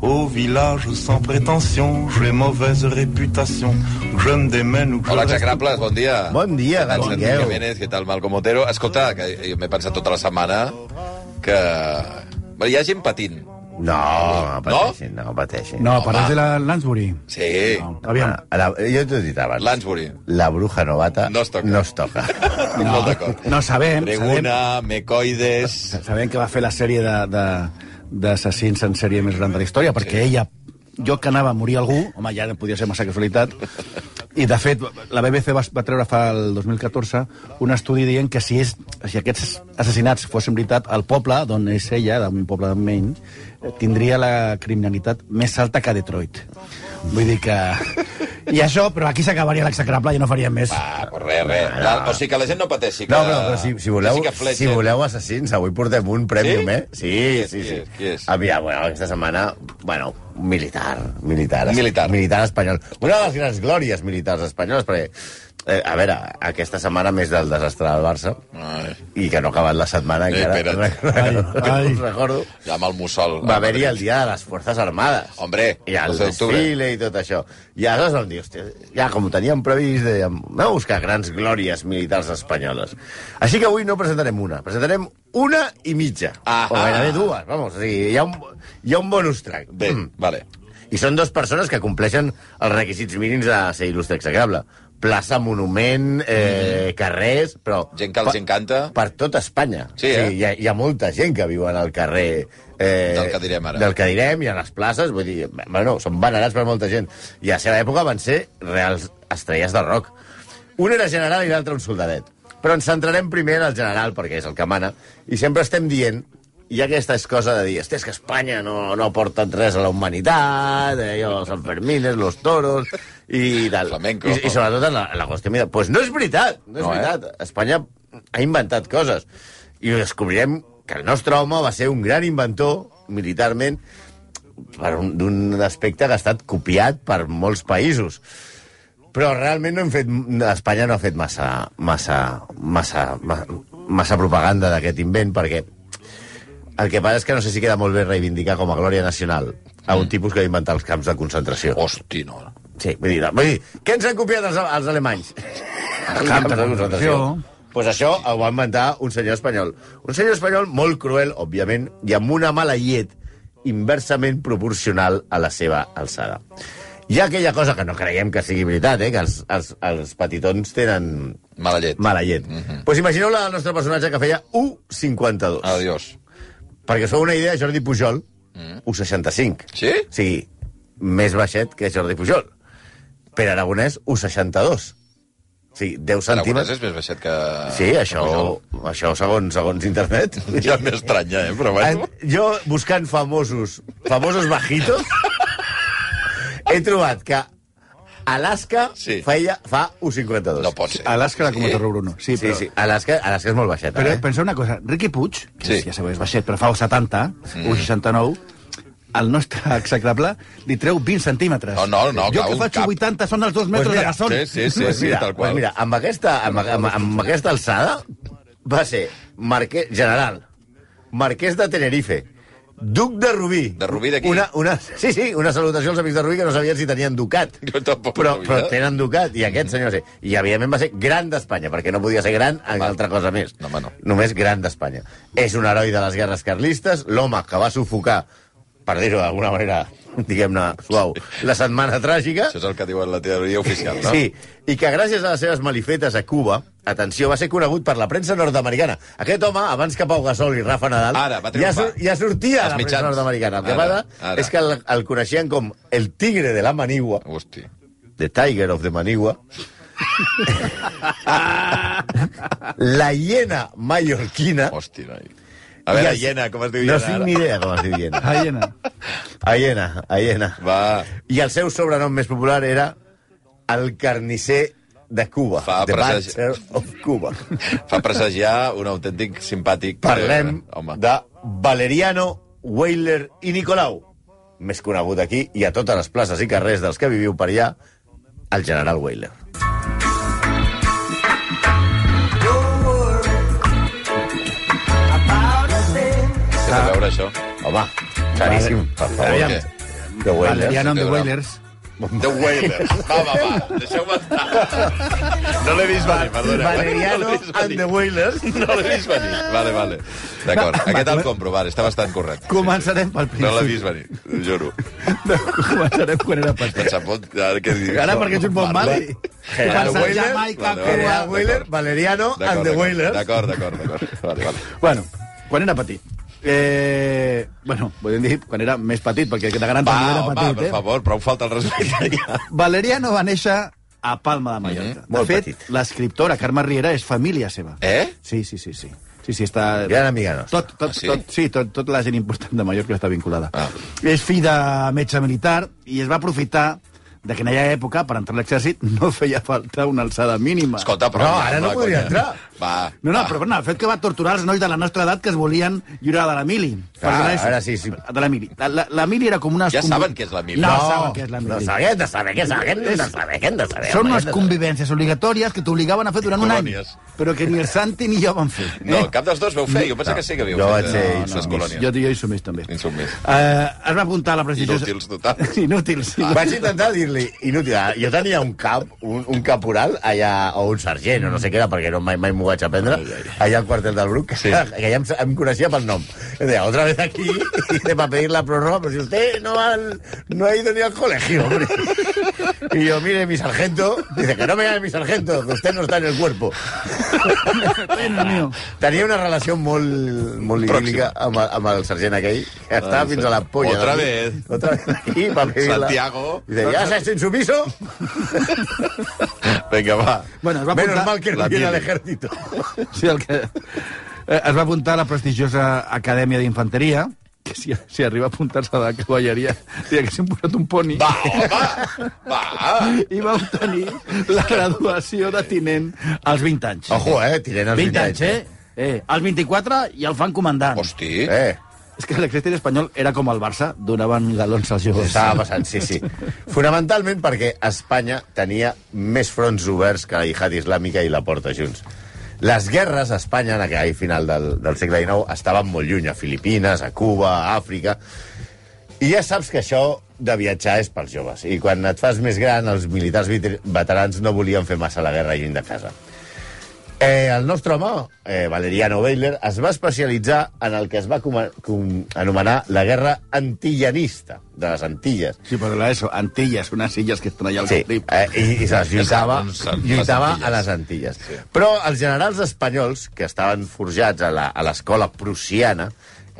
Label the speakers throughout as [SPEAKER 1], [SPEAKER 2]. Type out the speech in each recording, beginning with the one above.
[SPEAKER 1] au village sans prétention, j'ai mauvaise réputation, que je me démène ou que
[SPEAKER 2] Hola,
[SPEAKER 1] je reste...
[SPEAKER 2] execrables, bon dia.
[SPEAKER 3] Bon dia,
[SPEAKER 2] Què tal,
[SPEAKER 3] Gabriel?
[SPEAKER 2] Santi Jiménez, què tal, Malcom Otero? Escolta, que jo m'he pensat tota la setmana que... Bé, hi ha gent patint.
[SPEAKER 3] No, no pateixin, no, pateixin.
[SPEAKER 4] No, parles de la Lansbury.
[SPEAKER 2] Sí,
[SPEAKER 4] No.
[SPEAKER 3] aviam.
[SPEAKER 4] Aviam.
[SPEAKER 3] La, jo t'ho he dit abans.
[SPEAKER 2] Lansbury.
[SPEAKER 3] La bruja novata
[SPEAKER 2] No es toca.
[SPEAKER 3] No es toca.
[SPEAKER 2] Estic molt
[SPEAKER 3] Ah.
[SPEAKER 2] d'acord.
[SPEAKER 4] No sabem,
[SPEAKER 2] Treguna, mecoides...
[SPEAKER 4] sabem, sabem que va fer la sèrie de- de- d'assassins en sèrie més gran de la història, perquè ella, jo que anava a morir algú, home, ja no podia ser massa casualitat, i de fet, la BBC va, va treure fa el 2014 un estudi dient que si, és, si aquests assassinats fossin veritat, el poble d'on és ella, d'un poble de Maine, eh, tindria la criminalitat més alta que a Detroit. Vull dir que... I això, però aquí s'acabaria l'execrable, ja no faríem més.
[SPEAKER 2] Ah, pues res, res.
[SPEAKER 3] No, no.
[SPEAKER 2] La- O sigui que la gent no pateixi. Que...
[SPEAKER 3] No, però, però si, si, voleu,
[SPEAKER 2] Sí que fletxen.
[SPEAKER 3] si voleu assassins, avui portem un prèmium,
[SPEAKER 2] Sí?
[SPEAKER 3] eh? Sí,
[SPEAKER 2] Qui és,
[SPEAKER 3] sí,
[SPEAKER 2] qui
[SPEAKER 3] sí.
[SPEAKER 2] és, qui és?
[SPEAKER 3] Aviam, bueno, aquesta setmana, bueno, un militar, militar.
[SPEAKER 2] Militar.
[SPEAKER 3] Militar espanyol. Una de les grans glòries militars espanyoles, perquè, eh, a veure, aquesta setmana més del desastre del Barça,
[SPEAKER 2] Ai,
[SPEAKER 3] i que no ha acabat la setmana,
[SPEAKER 2] Eh,
[SPEAKER 3] encara.
[SPEAKER 2] espera't.
[SPEAKER 3] Ai, ai. Recordo.
[SPEAKER 2] ja amb el mussol.
[SPEAKER 3] Va haver-hi el dia de les Forces Armades.
[SPEAKER 2] Hombre,
[SPEAKER 3] I el
[SPEAKER 2] 12 d'octubre.
[SPEAKER 3] desfile i tot això. I aleshores vam dir, hòstia, ja com ho teníem previst, dèiem, anem a buscar grans glòries militars espanyoles. Així que avui no presentarem una, presentarem una i mitja.
[SPEAKER 2] Ahà.
[SPEAKER 3] O gairebé dues, vamos. O sigui, hi ha un, hi ha un bonus track.
[SPEAKER 2] Bé,
[SPEAKER 3] Mm.
[SPEAKER 2] vale.
[SPEAKER 3] I són dues persones que compleixen els requisits mínims de ser il·lustre execrable. Plaça, monument, eh, carrers, però...
[SPEAKER 2] Mm. Gent que els
[SPEAKER 3] per-
[SPEAKER 2] encanta.
[SPEAKER 3] Per tota Espanya.
[SPEAKER 2] Sí, eh?
[SPEAKER 3] hi, ha, hi ha molta gent que viu en el carrer... Eh,
[SPEAKER 2] Del que direm ara.
[SPEAKER 3] Del que direm, i a les places, vull dir, bueno, són venerats per molta gent. I a la seva època van ser reals estrelles de rock. Un era general i l'altre un soldadet. Però ens centrarem primer en el general, perquè és el que mana, i sempre estem dient hi ha aquesta cosa de dir, "Hosti, és que Espanya no, no ha portat res a la humanitat, eh, jo, San Fermín, los toros, i tal.
[SPEAKER 2] Flamenco.
[SPEAKER 3] I, i sobretot en la, en la qüestió... Doncs pues no és veritat, no és
[SPEAKER 2] No,
[SPEAKER 3] no,
[SPEAKER 2] eh?
[SPEAKER 3] veritat veritat, Espanya ha inventat coses. I ho descobrirem que el nostre home va ser un gran inventor militarment per un- d'un aspecte que ha estat copiat per molts països. Però realment no hem fet, Espanya no ha fet massa, massa, massa, ma- massa propaganda d'aquest invent, perquè el que passa és que no sé si queda molt bé reivindicar com a glòria nacional
[SPEAKER 2] Mm.
[SPEAKER 3] a un tipus que va inventar els camps de concentració.
[SPEAKER 2] Hosti, no.
[SPEAKER 3] Sí, vull dir, vull dir què ens han copiat els, els alemanys? Els camps de concentració. Pues això ho va inventar un senyor espanyol. Un senyor espanyol molt cruel, òbviament, i amb una mala llet inversament proporcional a la seva alçada. Hi ha aquella cosa que no creiem que sigui veritat, eh, que els, els, els petitons tenen
[SPEAKER 2] Mala llet.
[SPEAKER 3] mala llet. Mm -hmm. pues imagineu-la del nostre personatge que feia 1,52.
[SPEAKER 2] Adiós.
[SPEAKER 3] Perquè us feu una idea, Jordi Pujol, mm. 1,65.
[SPEAKER 2] Sí?
[SPEAKER 3] O sigui, més baixet que Jordi Pujol. Pere Aragonès, 1,62. O sigui,
[SPEAKER 2] Aragonès
[SPEAKER 3] 10 centímetres...
[SPEAKER 2] és eh, més baixet que...
[SPEAKER 3] Sí, això, això segons, segons internet.
[SPEAKER 2] Ja m'estranya, eh? Però
[SPEAKER 3] En,
[SPEAKER 2] bueno...
[SPEAKER 3] jo, buscant famosos, famosos bajitos, he trobat que Alaska
[SPEAKER 2] Sí.
[SPEAKER 3] sí. feia, fa 1,52.
[SPEAKER 2] No pot ser.
[SPEAKER 4] Alaska la cometa
[SPEAKER 2] Sí?
[SPEAKER 4] Bruno. Sí,
[SPEAKER 3] Sí,
[SPEAKER 4] però...
[SPEAKER 3] sí, Alaska, Alaska és molt baixeta,
[SPEAKER 4] Però
[SPEAKER 3] eh?
[SPEAKER 4] penseu una cosa, Ricky Puig, que
[SPEAKER 2] Sí.
[SPEAKER 4] sí. ja sabeu, és baixet, però fa 70, mm. 69, el nostre execrable li treu 20 centímetres.
[SPEAKER 2] No, no, no,
[SPEAKER 4] jo
[SPEAKER 2] clar,
[SPEAKER 4] que
[SPEAKER 2] un
[SPEAKER 4] faig
[SPEAKER 2] cap.
[SPEAKER 4] 80 són els dos metres
[SPEAKER 3] mira,
[SPEAKER 4] de gasol.
[SPEAKER 2] Sí, sí, sí, sí,
[SPEAKER 3] mira,
[SPEAKER 2] tal qual.
[SPEAKER 3] Pues mira, amb aquesta, amb, amb, amb aquesta alçada va ser marquès, general, marquès de Tenerife, duc de Rubí.
[SPEAKER 2] De Rubí d'aquí.
[SPEAKER 3] Una, una, sí, sí, una salutació als amics de Rubí que no sabien si tenien ducat.
[SPEAKER 2] Jo tampoc Mm.
[SPEAKER 3] Però,
[SPEAKER 2] ho sabia.
[SPEAKER 3] però tenen ducat, i aquest senyor sí. I, evidentment, va ser gran d'Espanya, perquè no podia ser gran en
[SPEAKER 2] Home.
[SPEAKER 3] altra cosa més.
[SPEAKER 2] No, home, no.
[SPEAKER 3] Només gran d'Espanya. És un heroi de les guerres carlistes, l'home que va sufocar, per dir-ho d'alguna manera, diguem-ne, suau, la setmana tràgica.
[SPEAKER 2] Això és el que diuen la teoria oficial, no?
[SPEAKER 3] Sí, i que gràcies a les seves malifetes a Cuba, atenció, va ser conegut per la premsa nord-americana. Aquest home, abans que Pau Gasol i Rafa Nadal,
[SPEAKER 2] Ara, va
[SPEAKER 3] ja,
[SPEAKER 2] triomfar.
[SPEAKER 3] sur- ja sortia a
[SPEAKER 2] Als
[SPEAKER 3] la premsa
[SPEAKER 2] mitjans.
[SPEAKER 3] nord-americana. El que
[SPEAKER 2] Ara,
[SPEAKER 3] passa
[SPEAKER 2] ara.
[SPEAKER 3] és que el, el coneixien com el tigre de la manigua,
[SPEAKER 2] Hosti.
[SPEAKER 3] the tiger of the manigua, la hiena mallorquina...
[SPEAKER 2] Hosti, noi. A veure,
[SPEAKER 3] i el-
[SPEAKER 2] Hiena, com es diu
[SPEAKER 3] No
[SPEAKER 2] Hiena?
[SPEAKER 3] tinc
[SPEAKER 2] ara?
[SPEAKER 3] ni idea com es diu hiena.
[SPEAKER 4] Aiena.
[SPEAKER 3] Hiena, hiena.
[SPEAKER 2] Va,
[SPEAKER 3] I el seu sobrenom més popular era el carnisser de Cuba.
[SPEAKER 2] Fa
[SPEAKER 3] the
[SPEAKER 2] presagi-
[SPEAKER 3] Butcher of Cuba.
[SPEAKER 2] fa presagiar un autèntic simpàtic...
[SPEAKER 3] Parlem
[SPEAKER 2] Eh, home.
[SPEAKER 3] de Valeriano, Weiler i Nicolau. Més conegut aquí i a totes les places i carrers dels que viviu per allà, el general Weiler.
[SPEAKER 2] Què té a veure, això?
[SPEAKER 3] Home, caríssim. Per favor.
[SPEAKER 2] Aviam.
[SPEAKER 3] Aviam. Que bueno.
[SPEAKER 4] Valeriana and the
[SPEAKER 2] sí,
[SPEAKER 4] Wailers.
[SPEAKER 2] The Wailers. Va, va, va, deixeu-me estar. No l'he vist venir, perdona. eh?
[SPEAKER 3] Valeriano
[SPEAKER 2] no l'he vist
[SPEAKER 3] and
[SPEAKER 2] venir.
[SPEAKER 3] the Wailers.
[SPEAKER 2] No l'he vist venir. Vale, vale. D'acord,
[SPEAKER 4] Va, va,
[SPEAKER 2] aquest el
[SPEAKER 4] va.
[SPEAKER 2] compro, vale, està bastant correcte.
[SPEAKER 4] Començarem pel
[SPEAKER 2] No l'he
[SPEAKER 4] principi.
[SPEAKER 2] vist venir, ho juro.
[SPEAKER 4] Començarem quan era petit.
[SPEAKER 2] No se'n pot... Ara, què dius?
[SPEAKER 4] Ara, perquè ets un bon mali.
[SPEAKER 3] Gerard
[SPEAKER 4] Pensa en
[SPEAKER 3] Weyler,
[SPEAKER 4] Jamaica,
[SPEAKER 2] Valeriana.
[SPEAKER 4] Cuba...
[SPEAKER 3] Gerard Weyler, Valeriano and
[SPEAKER 2] D'acord,
[SPEAKER 3] the
[SPEAKER 2] d'acord,
[SPEAKER 3] Wailers.
[SPEAKER 2] d'acord, d'acord, d'acord. Vale, vale.
[SPEAKER 4] Bueno, quan era petit. Eh, bueno, podem dir quan era més petit, perquè de gran
[SPEAKER 2] Va,
[SPEAKER 4] també era
[SPEAKER 2] home,
[SPEAKER 4] petit,
[SPEAKER 2] per
[SPEAKER 4] eh?
[SPEAKER 2] favor, prou falta el respecte. ja.
[SPEAKER 4] Valeriano va néixer a Palma de Mallorca.
[SPEAKER 3] Mhm.
[SPEAKER 4] De
[SPEAKER 3] Molt
[SPEAKER 4] fet,
[SPEAKER 3] petit.
[SPEAKER 4] l'escriptora Carme Riera és família seva.
[SPEAKER 2] Eh?
[SPEAKER 4] Sí, sí, sí, sí. Sí, sí, està...
[SPEAKER 3] Gran amiga nostra.
[SPEAKER 4] Tot, tot,
[SPEAKER 2] Ah, sí?
[SPEAKER 4] sí? Tot, sí, tot, tota la gent important de Mallorca està vinculada.
[SPEAKER 2] Ah.
[SPEAKER 4] És fill de metge militar i es va aprofitar de que en aquella època, per entrar a l'exèrcit, no feia falta una alçada mínima.
[SPEAKER 2] Escolta, però...
[SPEAKER 3] No, ara no
[SPEAKER 2] va, Ah.
[SPEAKER 3] podria
[SPEAKER 2] conya.
[SPEAKER 3] entrar.
[SPEAKER 2] Va,
[SPEAKER 4] No, no,
[SPEAKER 2] va.
[SPEAKER 4] però bueno, el fet que va torturar els nois de la nostra edat que es volien lliurar de la mili.
[SPEAKER 3] Clar,
[SPEAKER 2] Ah,
[SPEAKER 4] Perdona,
[SPEAKER 3] ara sí, sí.
[SPEAKER 4] De la mili. La, la, la mili era com una...
[SPEAKER 2] Ja saben què és la mili.
[SPEAKER 4] No,
[SPEAKER 2] No,
[SPEAKER 4] no saben què és la
[SPEAKER 3] No,
[SPEAKER 4] mili.
[SPEAKER 3] saber, hem de saber, què saber, hem de saber, què hem de saber.
[SPEAKER 4] Són
[SPEAKER 3] home,
[SPEAKER 4] unes
[SPEAKER 3] hem de saber.
[SPEAKER 4] convivències obligatòries que t'obligaven a fer durant un any.
[SPEAKER 2] Colònies.
[SPEAKER 4] Però que ni el Santi ni jo vam fer. Eh?
[SPEAKER 2] No, cap dels dos veu fer, jo penso que sí que viu.
[SPEAKER 3] Jo vaig ser
[SPEAKER 2] no, no,
[SPEAKER 3] insubmís.
[SPEAKER 2] colònies.
[SPEAKER 4] Jo, jo hi som més, també.
[SPEAKER 2] Insubmís.
[SPEAKER 4] Eh, es va apuntar a la prestigiosa...
[SPEAKER 2] Inútils, totals.
[SPEAKER 4] Inútils,
[SPEAKER 2] Ah.
[SPEAKER 4] sí.
[SPEAKER 3] Vaig intentar dir-li, inútil, ah, jo tenia un cap, un, un caporal allà, o un sergent, o no sé què era, perquè no, mai, mai m'ho vaig aprendre, allà al quartel del Bruc, que, sí. que ja em, em coneixia pel nom. Em deia, otra vez aquí, y te va a pedir la prórroga, pero si usted no, al, no ha ido ni al colegio, hombre. Y yo, mire, mi sargento, dice, que no me llame mi sargento, que usted no está en el cuerpo.
[SPEAKER 4] Bueno, mío.
[SPEAKER 3] Tenia una relació molt, molt
[SPEAKER 2] Pròxima.
[SPEAKER 3] idíl·lica amb, el- amb el sergent aquell, que estava
[SPEAKER 2] sí.
[SPEAKER 3] fins a la polla.
[SPEAKER 2] Otra
[SPEAKER 3] de mi.
[SPEAKER 2] vez.
[SPEAKER 3] Otra vez aquí, va pedir
[SPEAKER 2] Santiago.
[SPEAKER 3] La... Dice, ya se ha hecho insumiso,
[SPEAKER 2] Vinga, va.
[SPEAKER 4] Bueno, es va apuntar...
[SPEAKER 3] menos mal que
[SPEAKER 2] la
[SPEAKER 3] no viene al
[SPEAKER 2] mili.
[SPEAKER 3] ejército.
[SPEAKER 4] Sí, el que... Eh, Es va apuntar a la prestigiosa Acadèmia d'Infanteria, que si, si arriba a apuntar-se a la cavalleria, diria que s'han posat un poni.
[SPEAKER 2] Va, home, va.
[SPEAKER 4] I va obtenir la graduació de tinent als 20 anys.
[SPEAKER 3] Ojo, eh, tirant els
[SPEAKER 4] 20 anys, eh? Eh, als 24 i el fan comandant.
[SPEAKER 2] Hosti. Eh?
[SPEAKER 3] Eh,
[SPEAKER 4] És que l'exèrcit espanyol era com el Barça, donaven galons als
[SPEAKER 3] ho
[SPEAKER 4] joves.
[SPEAKER 3] estava passant, sí, sí. Fonamentalment perquè Espanya tenia més fronts oberts que la Jihad Islàmica i la Porta Junts. Les guerres a Espanya, en aquell final del, del segle XIX, estaven molt lluny, a Filipines, a Cuba, a Àfrica... I ja saps que això de viatjar és pels joves. I quan et fas més gran, els militars vit- veterans no volien fer massa la guerra lluny de casa. Eh, el nostre home, eh, Valeriano Weiler, es va especialitzar en el que es va com com anomenar la guerra antillanista de les Antilles.
[SPEAKER 4] Sí, però la ESO, Antilles, unes illes que estan allà al
[SPEAKER 3] Sí,
[SPEAKER 4] Carib.
[SPEAKER 3] eh, i, i se les lluitava,
[SPEAKER 2] Les Antilles.
[SPEAKER 3] lluitava a les Antilles. Però els generals espanyols, que estaven forjats a la- a l'escola prussiana,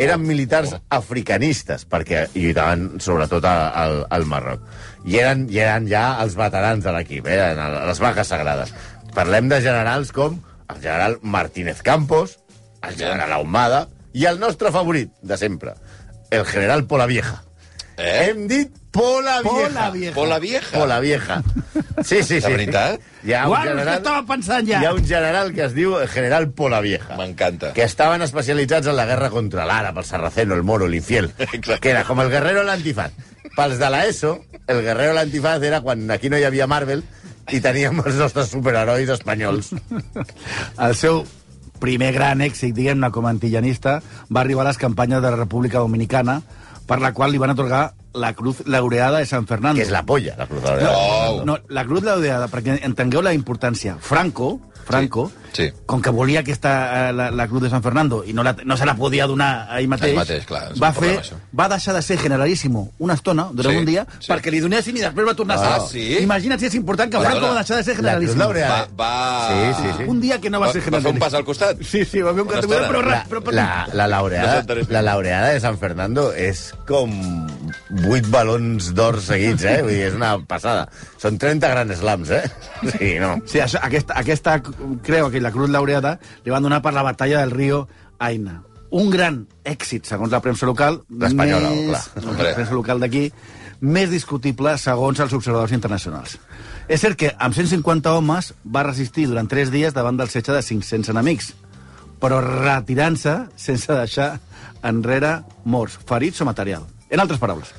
[SPEAKER 3] eren militars africanistes, perquè lluitaven sobretot a- al, al Marroc. I eren, I eren ja els veterans de l'equip, eh, eren el- les vaques sagrades. Parlem de generals com el general Martínez Campos, el general Ahumada, i el nostre favorit de sempre, el general Polavieja.
[SPEAKER 2] Eh?
[SPEAKER 3] Hem dit Polavieja.
[SPEAKER 4] Pola vieja.
[SPEAKER 2] Pola vieja.
[SPEAKER 3] Pola vieja. Sí, sí, sí.
[SPEAKER 2] De veritat?
[SPEAKER 3] Hi ha un
[SPEAKER 4] Guau, és que
[SPEAKER 3] general,
[SPEAKER 4] estava pensant ja.
[SPEAKER 3] hi ha un general que es diu el general Pola vieja.
[SPEAKER 2] M'encanta.
[SPEAKER 3] Que estaven especialitzats en la guerra contra l'àrab, el sarraceno, el moro, l'infiel.
[SPEAKER 2] Exacte.
[SPEAKER 3] Que era com el guerrero i l'antifaz. Pels de l'ESO, el guerrero i l'antifaz era quan aquí no hi havia Marvel i teníem els nostres superherois espanyols.
[SPEAKER 4] El seu primer gran èxit, diguem-ne, com a antillanista, va arribar a les campanyes de la República Dominicana, per la qual li van atorgar la Cruz Laureada de San Fernando.
[SPEAKER 3] Que és la polla, la cruzada.
[SPEAKER 2] No.
[SPEAKER 4] No, la Cruz Laureada, perquè entengueu la importància. Franco, Franco
[SPEAKER 2] Sí, sí.
[SPEAKER 4] com que volia aquesta, eh, la, la Cruz de San Fernando i no, la, no se la podia donar ahir mateix,
[SPEAKER 2] Ell mateix, clar, és
[SPEAKER 4] va,
[SPEAKER 2] un problema,
[SPEAKER 4] fer,
[SPEAKER 2] això.
[SPEAKER 4] va deixar de ser generalíssimo una estona, durant
[SPEAKER 2] Sí,
[SPEAKER 4] un dia,
[SPEAKER 2] sí.
[SPEAKER 4] perquè li donessin i després va tornar a
[SPEAKER 2] Ah,
[SPEAKER 4] ser.
[SPEAKER 2] sí?
[SPEAKER 4] Imagina't si és important que Franco
[SPEAKER 2] Perdona,
[SPEAKER 4] va deixar de ser
[SPEAKER 3] La Cruz
[SPEAKER 4] generalíssimo.
[SPEAKER 3] Laureada.
[SPEAKER 2] Va- va-
[SPEAKER 3] Sí, sí, sí.
[SPEAKER 4] Un dia que no va,
[SPEAKER 2] Va-
[SPEAKER 4] ser
[SPEAKER 2] va fer
[SPEAKER 4] generalíssimo.
[SPEAKER 2] un pas al costat?
[SPEAKER 4] Sí, sí, va fer un
[SPEAKER 2] Una
[SPEAKER 4] cantó, però,
[SPEAKER 2] estona.
[SPEAKER 4] però,
[SPEAKER 3] La,
[SPEAKER 4] però, però,
[SPEAKER 3] la, la, laureada,
[SPEAKER 2] No s'enteres.
[SPEAKER 3] la laureada de San Fernando és com vuit balons d'or seguits, eh? Vull dir, és una passada. Són 30 gran slams, eh? Sí, no.
[SPEAKER 4] Sí, això, aquesta, aquesta creu que la Cruz Laureada li van donar per la batalla del riu Aina. Un gran èxit, segons la premsa local,
[SPEAKER 3] L'espanyola,
[SPEAKER 4] més...
[SPEAKER 3] clar.
[SPEAKER 4] la premsa local d'aquí, més discutible segons els observadors internacionals. És cert que amb 150 homes va resistir durant 3 dies davant del setge de 500 enemics, però retirant-se sense deixar enrere morts, ferits o material. En altres paraules,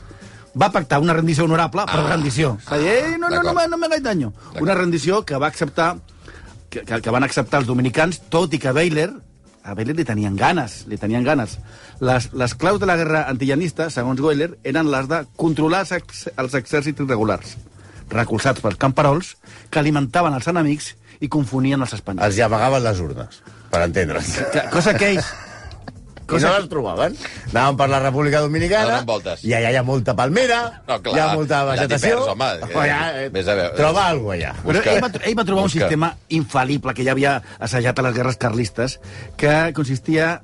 [SPEAKER 4] va pactar una rendició honorable, però
[SPEAKER 2] Ah.
[SPEAKER 4] rendició. És a dir, Ei, no, no, no,
[SPEAKER 2] D'acord.
[SPEAKER 4] me- no me hagáis daño. Una rendició que va acceptar que, que, que van acceptar els dominicans, tot i que Baylor a Vélez li tenien ganes, li tenien ganes. Les, les claus de la guerra antillanista, segons Goeller, eren les de controlar els, ex, els exèrcits irregulars, recolzats pels camperols, que alimentaven els enemics i confonien els espanyols.
[SPEAKER 3] Els hi amagaven les urnes, per entendre'ns.
[SPEAKER 4] Que- Cosa que ells...
[SPEAKER 3] I no les trobaven. Anaven per la República Dominicana,
[SPEAKER 2] Donen voltes.
[SPEAKER 3] i allà hi ha molta palmera,
[SPEAKER 2] No, clar,
[SPEAKER 3] hi ha molta
[SPEAKER 2] allà t'hi
[SPEAKER 3] vegetació... Oh, eh,
[SPEAKER 2] perds, home, que- Vés a veure.
[SPEAKER 3] Troba alguna cosa allà.
[SPEAKER 4] Però
[SPEAKER 2] Busca-
[SPEAKER 4] ell va, tr- ell va
[SPEAKER 2] busca.
[SPEAKER 4] trobar un sistema infal·lible que ja havia assajat a les guerres carlistes, que consistia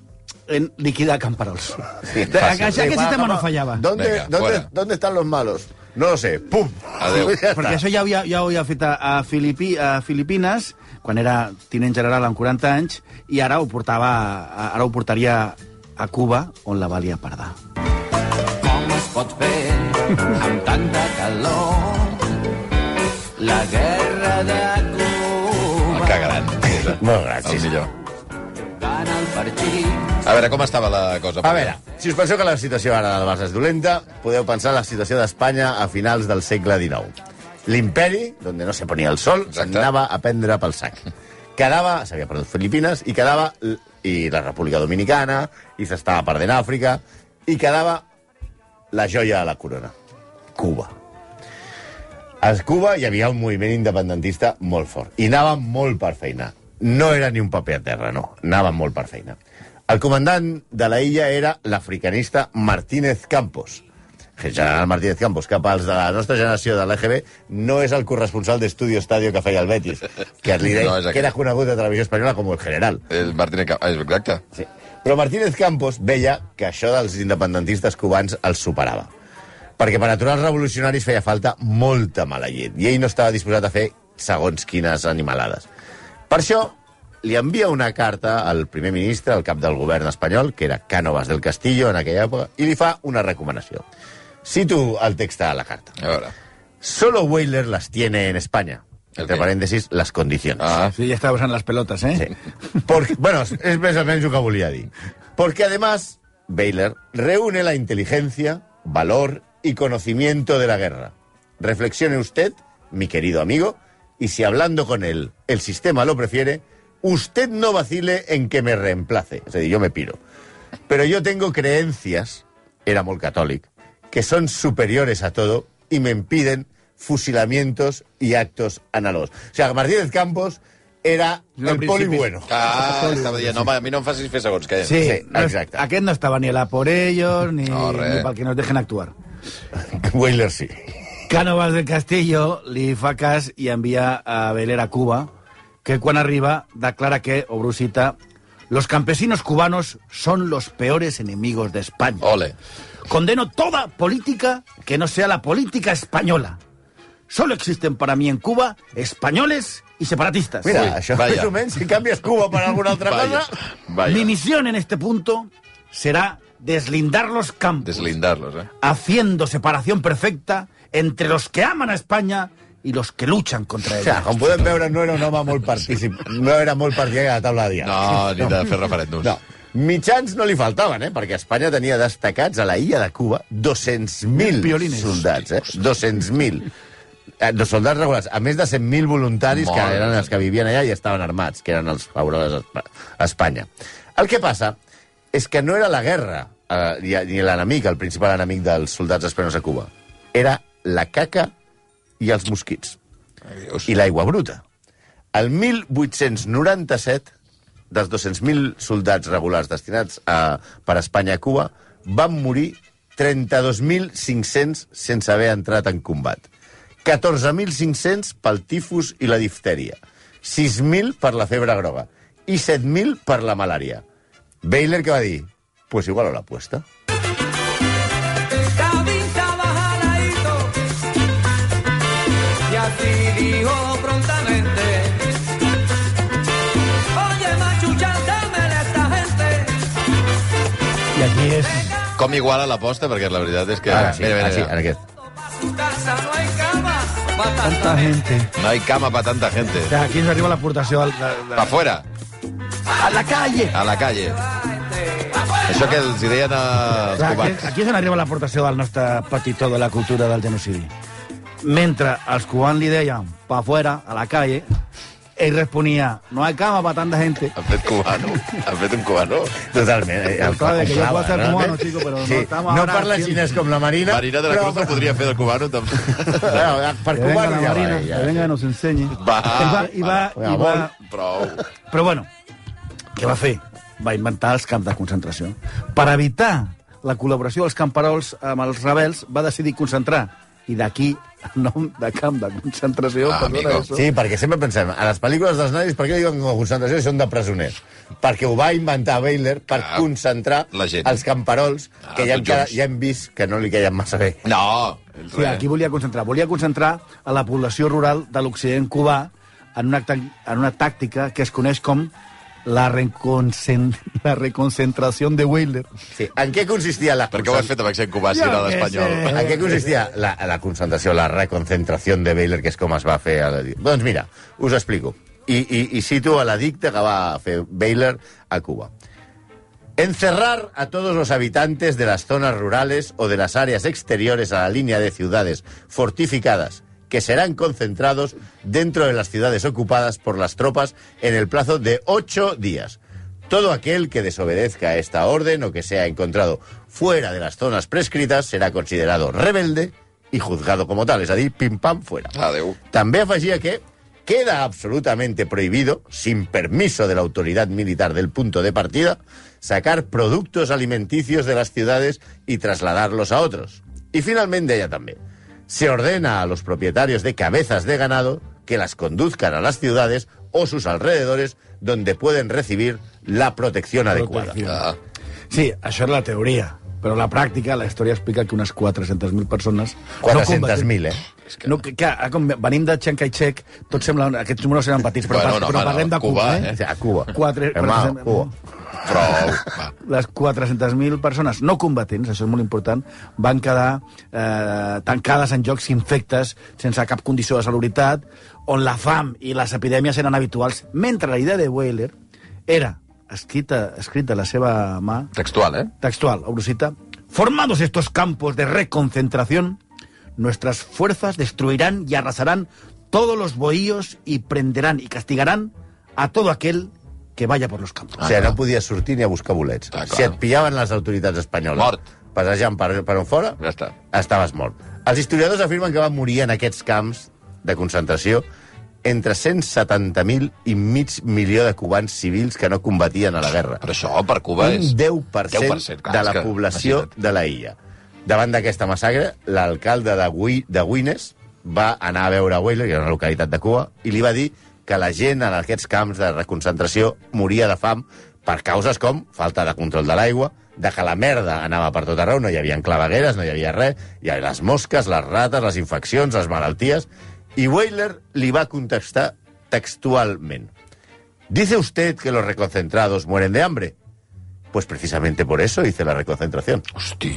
[SPEAKER 4] en liquidar camperols. Sí,
[SPEAKER 2] fàcil.
[SPEAKER 4] Aquest
[SPEAKER 3] Sí, va,
[SPEAKER 4] sistema
[SPEAKER 3] va,
[SPEAKER 4] no
[SPEAKER 3] va.
[SPEAKER 4] fallava.
[SPEAKER 3] ¿Dónde,
[SPEAKER 2] Venga,
[SPEAKER 3] dónde,
[SPEAKER 2] fuera.
[SPEAKER 3] ¿Dónde están los malos? No lo sé. ¡Pum!
[SPEAKER 2] Adeu.
[SPEAKER 3] Ja està.
[SPEAKER 4] Perquè això ja, havia, ja ho havia fet a, a, Filipi, a Filipines, quan era tinent general amb 40 anys, i ara ho, portava, a- ara ho portaria a Cuba, on la valia perdar.
[SPEAKER 5] Com es pot fer amb tanta calor la guerra de Cuba
[SPEAKER 2] Que gran.
[SPEAKER 3] Molt
[SPEAKER 2] El
[SPEAKER 3] gràcies.
[SPEAKER 2] millor.
[SPEAKER 5] gana el partit
[SPEAKER 2] A veure, com estava la cosa?
[SPEAKER 3] A veure, si us penseu que la situació ara del Barça és dolenta, podeu pensar en la situació d'Espanya a finals del segle XIX. L'imperi, on no se ponia el sol,
[SPEAKER 2] Exacte.
[SPEAKER 3] s'anava a prendre pel sac. Quedava, s'havia perdut Filipines, i quedava l- i la República Dominicana, i s'estava perdent Àfrica, i quedava la joia de la corona, Cuba. A Cuba hi havia un moviment independentista molt fort i anava molt per feina. No era ni un paper a terra, no. Anava molt per feina. El comandant de la illa era l'africanista Martínez Campos. El general Martínez Campos, que pels de la nostra generació de l'EGB no és el corresponsal d'Estudio Estadio que feia el Betis, que, li deia,
[SPEAKER 2] No, és
[SPEAKER 3] que
[SPEAKER 2] aquest.
[SPEAKER 3] era conegut a Televisió Espanyola com el general.
[SPEAKER 2] El Martínez Cam... ah, Exacte.
[SPEAKER 3] Sí. Però Martínez Campos veia que això dels independentistes cubans els superava. Perquè per aturar els revolucionaris feia falta molta mala llet. I ell no estava disposat a fer segons quines animalades. Per això li envia una carta al primer ministre, al cap del govern espanyol, que era Cánovas del Castillo en aquella època, i li fa una recomanació. Cito el text de la carta.
[SPEAKER 2] A veure.
[SPEAKER 3] Solo Weyler las tiene en España. Entre
[SPEAKER 2] Ok.
[SPEAKER 3] paréntesis, las condiciones.
[SPEAKER 2] Ah,
[SPEAKER 4] Sí, ja estava usant les pelotes, eh? Sí.
[SPEAKER 3] Porque, bueno, es más o menos lo que volia dir. Porque además, Baylor reúne la inteligencia, valor y conocimiento de la guerra. Reflexione usted, mi querido amigo, y si hablando con él el sistema lo prefiere, usted no vacile en que me reemplace. Es decir, yo me piro. Pero yo tengo creencias, era muy católico, que son superiores a todo y me impiden fusilamientos y actos análogos. O sea, Martínez Campos era
[SPEAKER 4] No, al
[SPEAKER 3] el poli
[SPEAKER 4] principi-
[SPEAKER 3] bueno.
[SPEAKER 2] ah estava dient, home, a mi no em facis fer segons que...
[SPEAKER 4] Sí,
[SPEAKER 3] Sí,
[SPEAKER 4] no, és-
[SPEAKER 3] exacte.
[SPEAKER 4] Aquest no estava ni a la por ellos, ni,
[SPEAKER 2] No, res.
[SPEAKER 4] ni pel que no dejen actuar.
[SPEAKER 3] Weyler sí.
[SPEAKER 4] Cánovas del Castillo li fa cas i envia a Beler a Cuba, que quan arriba declara que, obro cita, los campesinos cubanos son los peores enemigos de España.
[SPEAKER 2] Ole.
[SPEAKER 4] Condeno toda política que no sea la política española. Solo existen para mí en Cuba españoles y separatistas.
[SPEAKER 3] Mira,
[SPEAKER 2] Ui,
[SPEAKER 3] això
[SPEAKER 2] vaya.
[SPEAKER 3] més o menys, si canvies Cuba per alguna altra
[SPEAKER 2] Vaya,
[SPEAKER 3] cosa...
[SPEAKER 4] Mi
[SPEAKER 2] vaya.
[SPEAKER 4] misión en este punto será deslindar los campos.
[SPEAKER 2] Deslindarlos, eh?
[SPEAKER 4] haciendo separación perfecta entre los que aman a España y los que luchan contra
[SPEAKER 3] O
[SPEAKER 4] ella.
[SPEAKER 3] sigui, com podem veure, no era un home molt partícip, no era molt partidari a la taula de diàleg.
[SPEAKER 2] No, ni de fer referèndums.
[SPEAKER 3] Ah, No. Mitjans no li faltaven, eh? perquè Espanya tenia destacats a la illa de Cuba 200.000
[SPEAKER 4] Piolines.
[SPEAKER 3] soldats. Eh? 200.000. Eh, dos soldats regulars, a més de 100.000 voluntaris que
[SPEAKER 2] Molt
[SPEAKER 3] eren
[SPEAKER 2] bé.
[SPEAKER 3] els que vivien allà i estaven armats, que eren els favorables a Espa- a Espanya. El que passa és que no era la guerra eh, ni, ni l'enemic, el principal enemic dels soldats espanyols a Cuba. Era la caca i els mosquits
[SPEAKER 2] Adiós.
[SPEAKER 3] i l'aigua bruta. El 1897, dels 200.000 soldats regulars destinats a, per Espanya a Cuba, van morir 32.500 sense haver entrat en combat. 14.500 pel tifus i la diftèria, 6.000 per la febre groga i 7.000 per la malària. Baylor que va dir, pues igual a l'apuesta.
[SPEAKER 5] Cabita bajadito y así dijo prontamente Oye machucha, dámele a esta gente
[SPEAKER 4] Y aquí es
[SPEAKER 2] Com igual a l'aposta, perquè la veritat és que...
[SPEAKER 3] Ara Ah, sí,
[SPEAKER 2] Mira, mira,
[SPEAKER 3] ara sí,
[SPEAKER 2] mira.
[SPEAKER 3] en aquest.
[SPEAKER 5] Pa' su casa no hay cama pa'
[SPEAKER 4] tanta
[SPEAKER 5] tanta gente
[SPEAKER 4] gente.
[SPEAKER 2] No hay cama para tanta gente.
[SPEAKER 4] O sea, aquí nos arriba la aportación al- de- de-
[SPEAKER 2] Pa fuera,
[SPEAKER 4] a la calle.
[SPEAKER 2] a la calle. Això que els hi deien
[SPEAKER 4] O
[SPEAKER 2] als
[SPEAKER 4] sea,
[SPEAKER 2] cubans.
[SPEAKER 4] aquí, aquí és on arriba l'aportació del nostre petitó de la cultura del genocidi. Mentre els cubans li deien pa fuera, a la calle, Ell responia, no hay cama para tanta gente.
[SPEAKER 2] Han fet cubano. Han fet un cubano.
[SPEAKER 3] Totalment. Eh, el
[SPEAKER 4] Sabe que yo puedo hacer
[SPEAKER 3] clava,
[SPEAKER 4] cubano,
[SPEAKER 3] realment.
[SPEAKER 4] chico, pero no
[SPEAKER 3] sí,
[SPEAKER 4] estamos
[SPEAKER 3] No
[SPEAKER 4] ahora
[SPEAKER 3] parla
[SPEAKER 4] haciendo-
[SPEAKER 3] xinès com la Marina,
[SPEAKER 2] Marina de la
[SPEAKER 3] però...
[SPEAKER 2] Cruz no podria fer de cubano, també.
[SPEAKER 3] Claro, per
[SPEAKER 4] Que venga
[SPEAKER 3] cubano
[SPEAKER 4] la
[SPEAKER 3] ja
[SPEAKER 4] Marina,
[SPEAKER 3] va.
[SPEAKER 4] que
[SPEAKER 3] Ja.
[SPEAKER 4] venga y nos enseñe.
[SPEAKER 2] Va,
[SPEAKER 4] I va, i va, i va,
[SPEAKER 3] va.
[SPEAKER 2] Prou.
[SPEAKER 4] Però bueno, què va fer? Va inventar els camps de concentració. Per evitar la col·laboració dels camperols amb els rebels, va decidir concentrar. I d'aquí el nom de camp de concentració.
[SPEAKER 2] Ah,
[SPEAKER 4] perdona,
[SPEAKER 2] amigo.
[SPEAKER 4] eso.
[SPEAKER 3] Sí, perquè sempre pensem, a les pel·lícules dels nazis, per què diuen que la concentració són de presoners? Perquè ho va inventar Baylor per
[SPEAKER 2] Clar.
[SPEAKER 3] concentrar
[SPEAKER 2] Ah, La gent.
[SPEAKER 3] els camperols,
[SPEAKER 2] Ah,
[SPEAKER 3] que ja hem,
[SPEAKER 2] tots junts.
[SPEAKER 3] ja hem vist que no li queien massa bé.
[SPEAKER 2] No,
[SPEAKER 4] Sí, aquí volia concentrar. Volia concentrar a la població rural de l'Occident cubà en una, tàc- en una tàctica que es coneix com la, reconcen, la reconcentració de Wheeler.
[SPEAKER 3] Sí. En què consistia la
[SPEAKER 2] Per què ho has
[SPEAKER 3] concentració?
[SPEAKER 2] fet amb accent cubà si era
[SPEAKER 4] Jo què
[SPEAKER 2] d'espanyol?
[SPEAKER 4] sé.
[SPEAKER 3] En què consistia la, la concentració, la reconcentració de Baylor, que és com es va fer? A la... Doncs mira, us explico. I, i, i cito a l'edicte que va fer Baylor a Cuba. Encerrar a todos los habitantes de las zonas rurales o de las áreas exteriores a la línea de ciudades fortificadas que serán concentrados dentro de las ciudades ocupadas por las tropas en el plazo de ocho días. Todo aquel que desobedezca esta orden o que sea encontrado fuera de las zonas prescritas será considerado rebelde y juzgado como tal, es decir, pim pam fuera.
[SPEAKER 2] Adéu.
[SPEAKER 3] També afegía que queda absolutamente prohibido, sin permiso de la autoridad militar del punto de partida, sacar productos alimenticios de las ciudades y trasladarlos a otros. Y finalmente ella también. Se ordena a los propietarios de cabezas de ganado que las conduzcan a las ciudades o sus alrededores donde pueden recibir la protección adecuada.
[SPEAKER 2] Ah,
[SPEAKER 4] Sí, això és la teoria. Però la pràctica, la història explica que unes 400.000 persones... no combatien-
[SPEAKER 3] 400.000, ¿eh?
[SPEAKER 4] No, que, que, ah, com venim de Chiang Kai-shek, tots sembla, aquests números eren petits, però,
[SPEAKER 2] Bueno, no,
[SPEAKER 4] bueno, no, però
[SPEAKER 2] home,
[SPEAKER 4] parlem
[SPEAKER 2] no,
[SPEAKER 4] de Cuba,
[SPEAKER 2] Cuba,
[SPEAKER 4] eh?
[SPEAKER 3] O sea, a Cuba.
[SPEAKER 4] Quatre-
[SPEAKER 3] Hermano,
[SPEAKER 4] per-
[SPEAKER 3] Cuba.
[SPEAKER 2] prou. Va.
[SPEAKER 4] les 400.000 persones no combatents, això és molt important, van quedar eh, tancades en llocs infectes, sense cap condició de salubritat, on la fam i les epidèmies eren habituals, mentre la idea de Weyler era, escrita, escrita a la seva mà,
[SPEAKER 2] Textual, eh?
[SPEAKER 4] textual, obro cita, formados estos campos de reconcentración, nuestras fuerzas destruirán y arrasarán todos los bohíos y prenderán y castigarán a todo aquel que vaya por los campos.
[SPEAKER 3] O sigui, no podies sortir ni a buscar bolets.
[SPEAKER 2] Ah, clar.
[SPEAKER 3] si et pillaven les autoritats espanyoles...
[SPEAKER 2] Mort.
[SPEAKER 3] Passejant per, per on fora,
[SPEAKER 2] Ja està.
[SPEAKER 3] estaves mort. Els historiadors afirmen que van morir en aquests camps de concentració entre 170.000 i mig milió de cubans civils que no combatien a la guerra.
[SPEAKER 2] Però això per Cuba
[SPEAKER 3] Un
[SPEAKER 2] és...
[SPEAKER 3] 10%,
[SPEAKER 2] 10%, clar,
[SPEAKER 3] de
[SPEAKER 2] és
[SPEAKER 3] la
[SPEAKER 2] que-
[SPEAKER 3] població
[SPEAKER 2] imagina't.
[SPEAKER 3] de la illa. Davant d'aquesta massacre, l'alcalde de, Gui, de Guines va anar a veure Weyler, que era una localitat de Cuba, i li va dir que la gent en aquests camps de reconcentració moria de fam per causes com falta de control de l'aigua, de que la merda anava per tot arreu, no hi havia clavegueres, no hi havia res, hi havia les mosques, les rates, les infeccions, les malalties... I Weyler li va contestar textualment. Dice usted que los reconcentrados mueren de hambre. Pues precisamente por eso hice la reconcentración.
[SPEAKER 2] Hosti,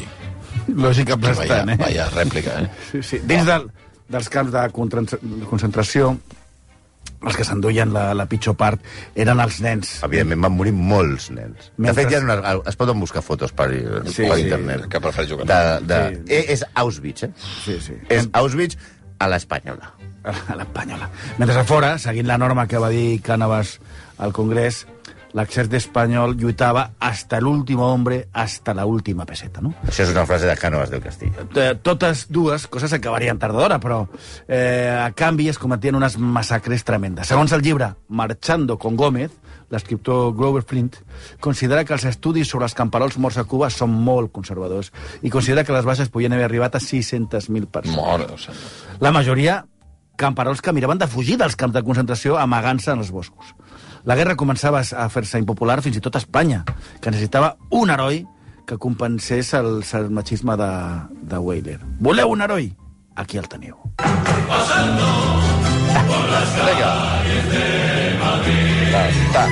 [SPEAKER 4] Lògica
[SPEAKER 2] vaya, vaya rèplica, eh?
[SPEAKER 4] ¿eh? Sí, sí. Dins del, dels camps de contra- concentració, els que s'enduien la, la pitjor part eren els nens.
[SPEAKER 3] Evidentment van morir molts nens. De
[SPEAKER 4] Mentre-
[SPEAKER 3] fet, hi ha una, es poden buscar fotos per, eh,
[SPEAKER 4] Sí,
[SPEAKER 3] per
[SPEAKER 4] sí,
[SPEAKER 3] internet.
[SPEAKER 2] que prefereixo que no.
[SPEAKER 3] De, de,
[SPEAKER 4] Sí.
[SPEAKER 3] eh, És Auschwitz, eh?
[SPEAKER 4] Sí, sí.
[SPEAKER 3] És Auschwitz a l'espanyola.
[SPEAKER 4] a l'espanyola. Mentre a fora, seguint la norma que va dir Cànavas al Congrés, l'exèrcit espanyol lluitava hasta l'últim hombre, hasta la última peseta, no?
[SPEAKER 3] Això és una frase de Cánovas del Castillo.
[SPEAKER 4] Eh, totes dues coses acabarien tard o d'hora, però eh, a canvi es cometien unes massacres tremendes. Segons el llibre Marchando con Gómez, l'escriptor Grover Flint considera que els estudis sobre els camperols morts a Cuba són molt conservadors i considera que les baixes podien haver arribat a 600.000 persones.
[SPEAKER 2] Mort, o sigui.
[SPEAKER 4] La majoria, camperols que miraven de fugir dels camps de concentració amagant-se en els boscos. La guerra començava a fer-se impopular fins i tot a Espanya, que necessitava un heroi que compensés el, el machisme de, de Weyler. Voleu un heroi? Aquí el teniu.
[SPEAKER 2] Vinga. Ta, ta.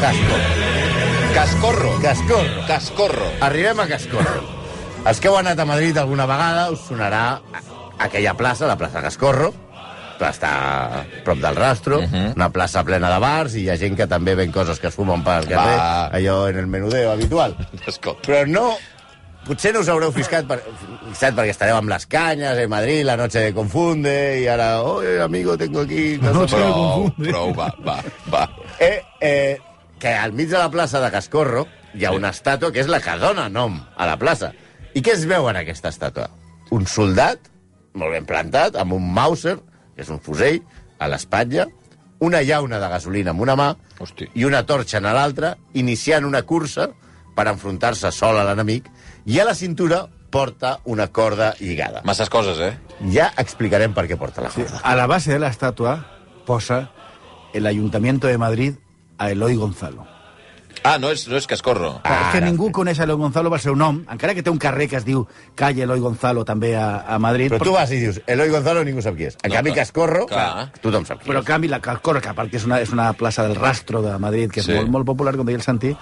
[SPEAKER 3] Casco.
[SPEAKER 2] Cascorro.
[SPEAKER 3] Cascorro.
[SPEAKER 2] Cascorro.
[SPEAKER 3] Arribem a Cascorro. Els que heu anat a Madrid alguna vegada us sonarà aquella plaça, la plaça Cascorro, que està a prop del rastro, uh -huh. una plaça plena de bars, i hi ha gent que també ven coses que es fumen pel carrer,
[SPEAKER 2] Va.
[SPEAKER 3] allò en el menudeo habitual.
[SPEAKER 2] Cascorro.
[SPEAKER 3] Però no Potser no us haureu fiscat, per, fiscat perquè estareu amb les canyes, en Madrid, la noche de confunde, i ara, oye, amigo, tengo aquí... No, sé
[SPEAKER 2] Prou, prou, va, va, va.
[SPEAKER 3] Eh, eh, que al mig de la plaça de Cascorro hi ha una estàtua que és la que dona nom a la plaça. I què es veu en aquesta estàtua? Un soldat, molt ben plantat, amb un Mauser, que és un fusell, a l'espatlla, una llauna de gasolina amb una mà
[SPEAKER 2] Hosti.
[SPEAKER 3] i una torxa en l'altra, iniciant una cursa per enfrontar-se sol a l'enemic, i a la cintura porta una corda lligada.
[SPEAKER 2] Masses coses, eh?
[SPEAKER 3] Ja explicarem per què porta la corda.
[SPEAKER 4] A la base de la estatua posa el Ayuntamiento de Madrid a Eloy Gonzalo.
[SPEAKER 2] Ah, no és, no és Cascorro.
[SPEAKER 4] Clar, és que
[SPEAKER 3] Ara.
[SPEAKER 4] ningú coneix Eloi Gonzalo pel seu nom, encara que té un carrer que es diu Calle Eloi Gonzalo també a, a Madrid,
[SPEAKER 3] Però tu vas i dius, Eloi Gonzalo ningú sap qui és. En
[SPEAKER 2] No,
[SPEAKER 3] no, canvi,
[SPEAKER 2] clar.
[SPEAKER 3] Cascorro,
[SPEAKER 2] Clar.
[SPEAKER 3] tothom sap qui
[SPEAKER 4] però en
[SPEAKER 3] és.
[SPEAKER 4] canvi la Calcorca, a part que és una, és una plaça del rastro de Madrid, que és
[SPEAKER 2] Sí.
[SPEAKER 4] sí. molt, molt popular, com deia el Santi,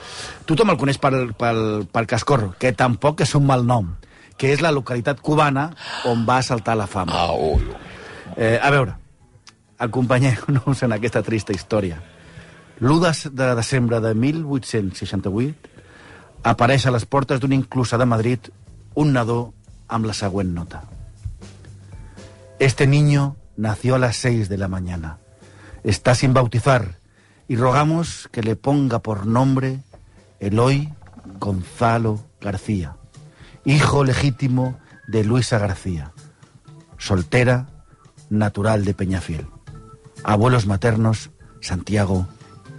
[SPEAKER 4] tothom el coneix pel, pel, pel Cascorro, que tampoc és un mal nom, que és la localitat cubana on va saltar la fama.
[SPEAKER 2] Ah, ui.
[SPEAKER 4] Eh, a veure, acompanyeu-nos en em aquesta trista història. L'1 de, de desembre de 1868 apareix a les portes d'una inclusa de Madrid un nadó amb la següent nota. Este niño nació a las 6 de la mañana. Está sin bautizar y rogamos que le ponga por nombre Eloy Gonzalo García, hijo legítimo de Luisa García soltera, natural de Peñafiel. Abuelos maternos, Santiago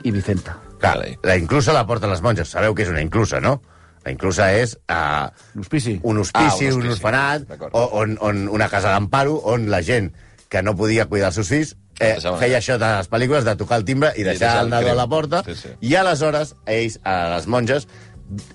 [SPEAKER 4] y Vicenta.
[SPEAKER 3] Clar, la inclusa la porta les monges. Sabeu que és una inclusa, no? La inclusa és uh,
[SPEAKER 4] Un hospici.
[SPEAKER 3] un
[SPEAKER 2] Ah, un
[SPEAKER 3] hospici, ah, un,
[SPEAKER 2] hospici.
[SPEAKER 3] un orfenat,
[SPEAKER 2] D'acord.
[SPEAKER 3] o, on, on una casa d'amparo, on la gent que no podia cuidar els seus fills eh,
[SPEAKER 2] Deixaven-
[SPEAKER 3] feia això de les pel·lícules, de tocar el timbre i deixar
[SPEAKER 2] deixar el
[SPEAKER 3] el nadó a la
[SPEAKER 2] crem.
[SPEAKER 3] porta,
[SPEAKER 2] Sí, sí.
[SPEAKER 3] i aleshores ells, a les monges,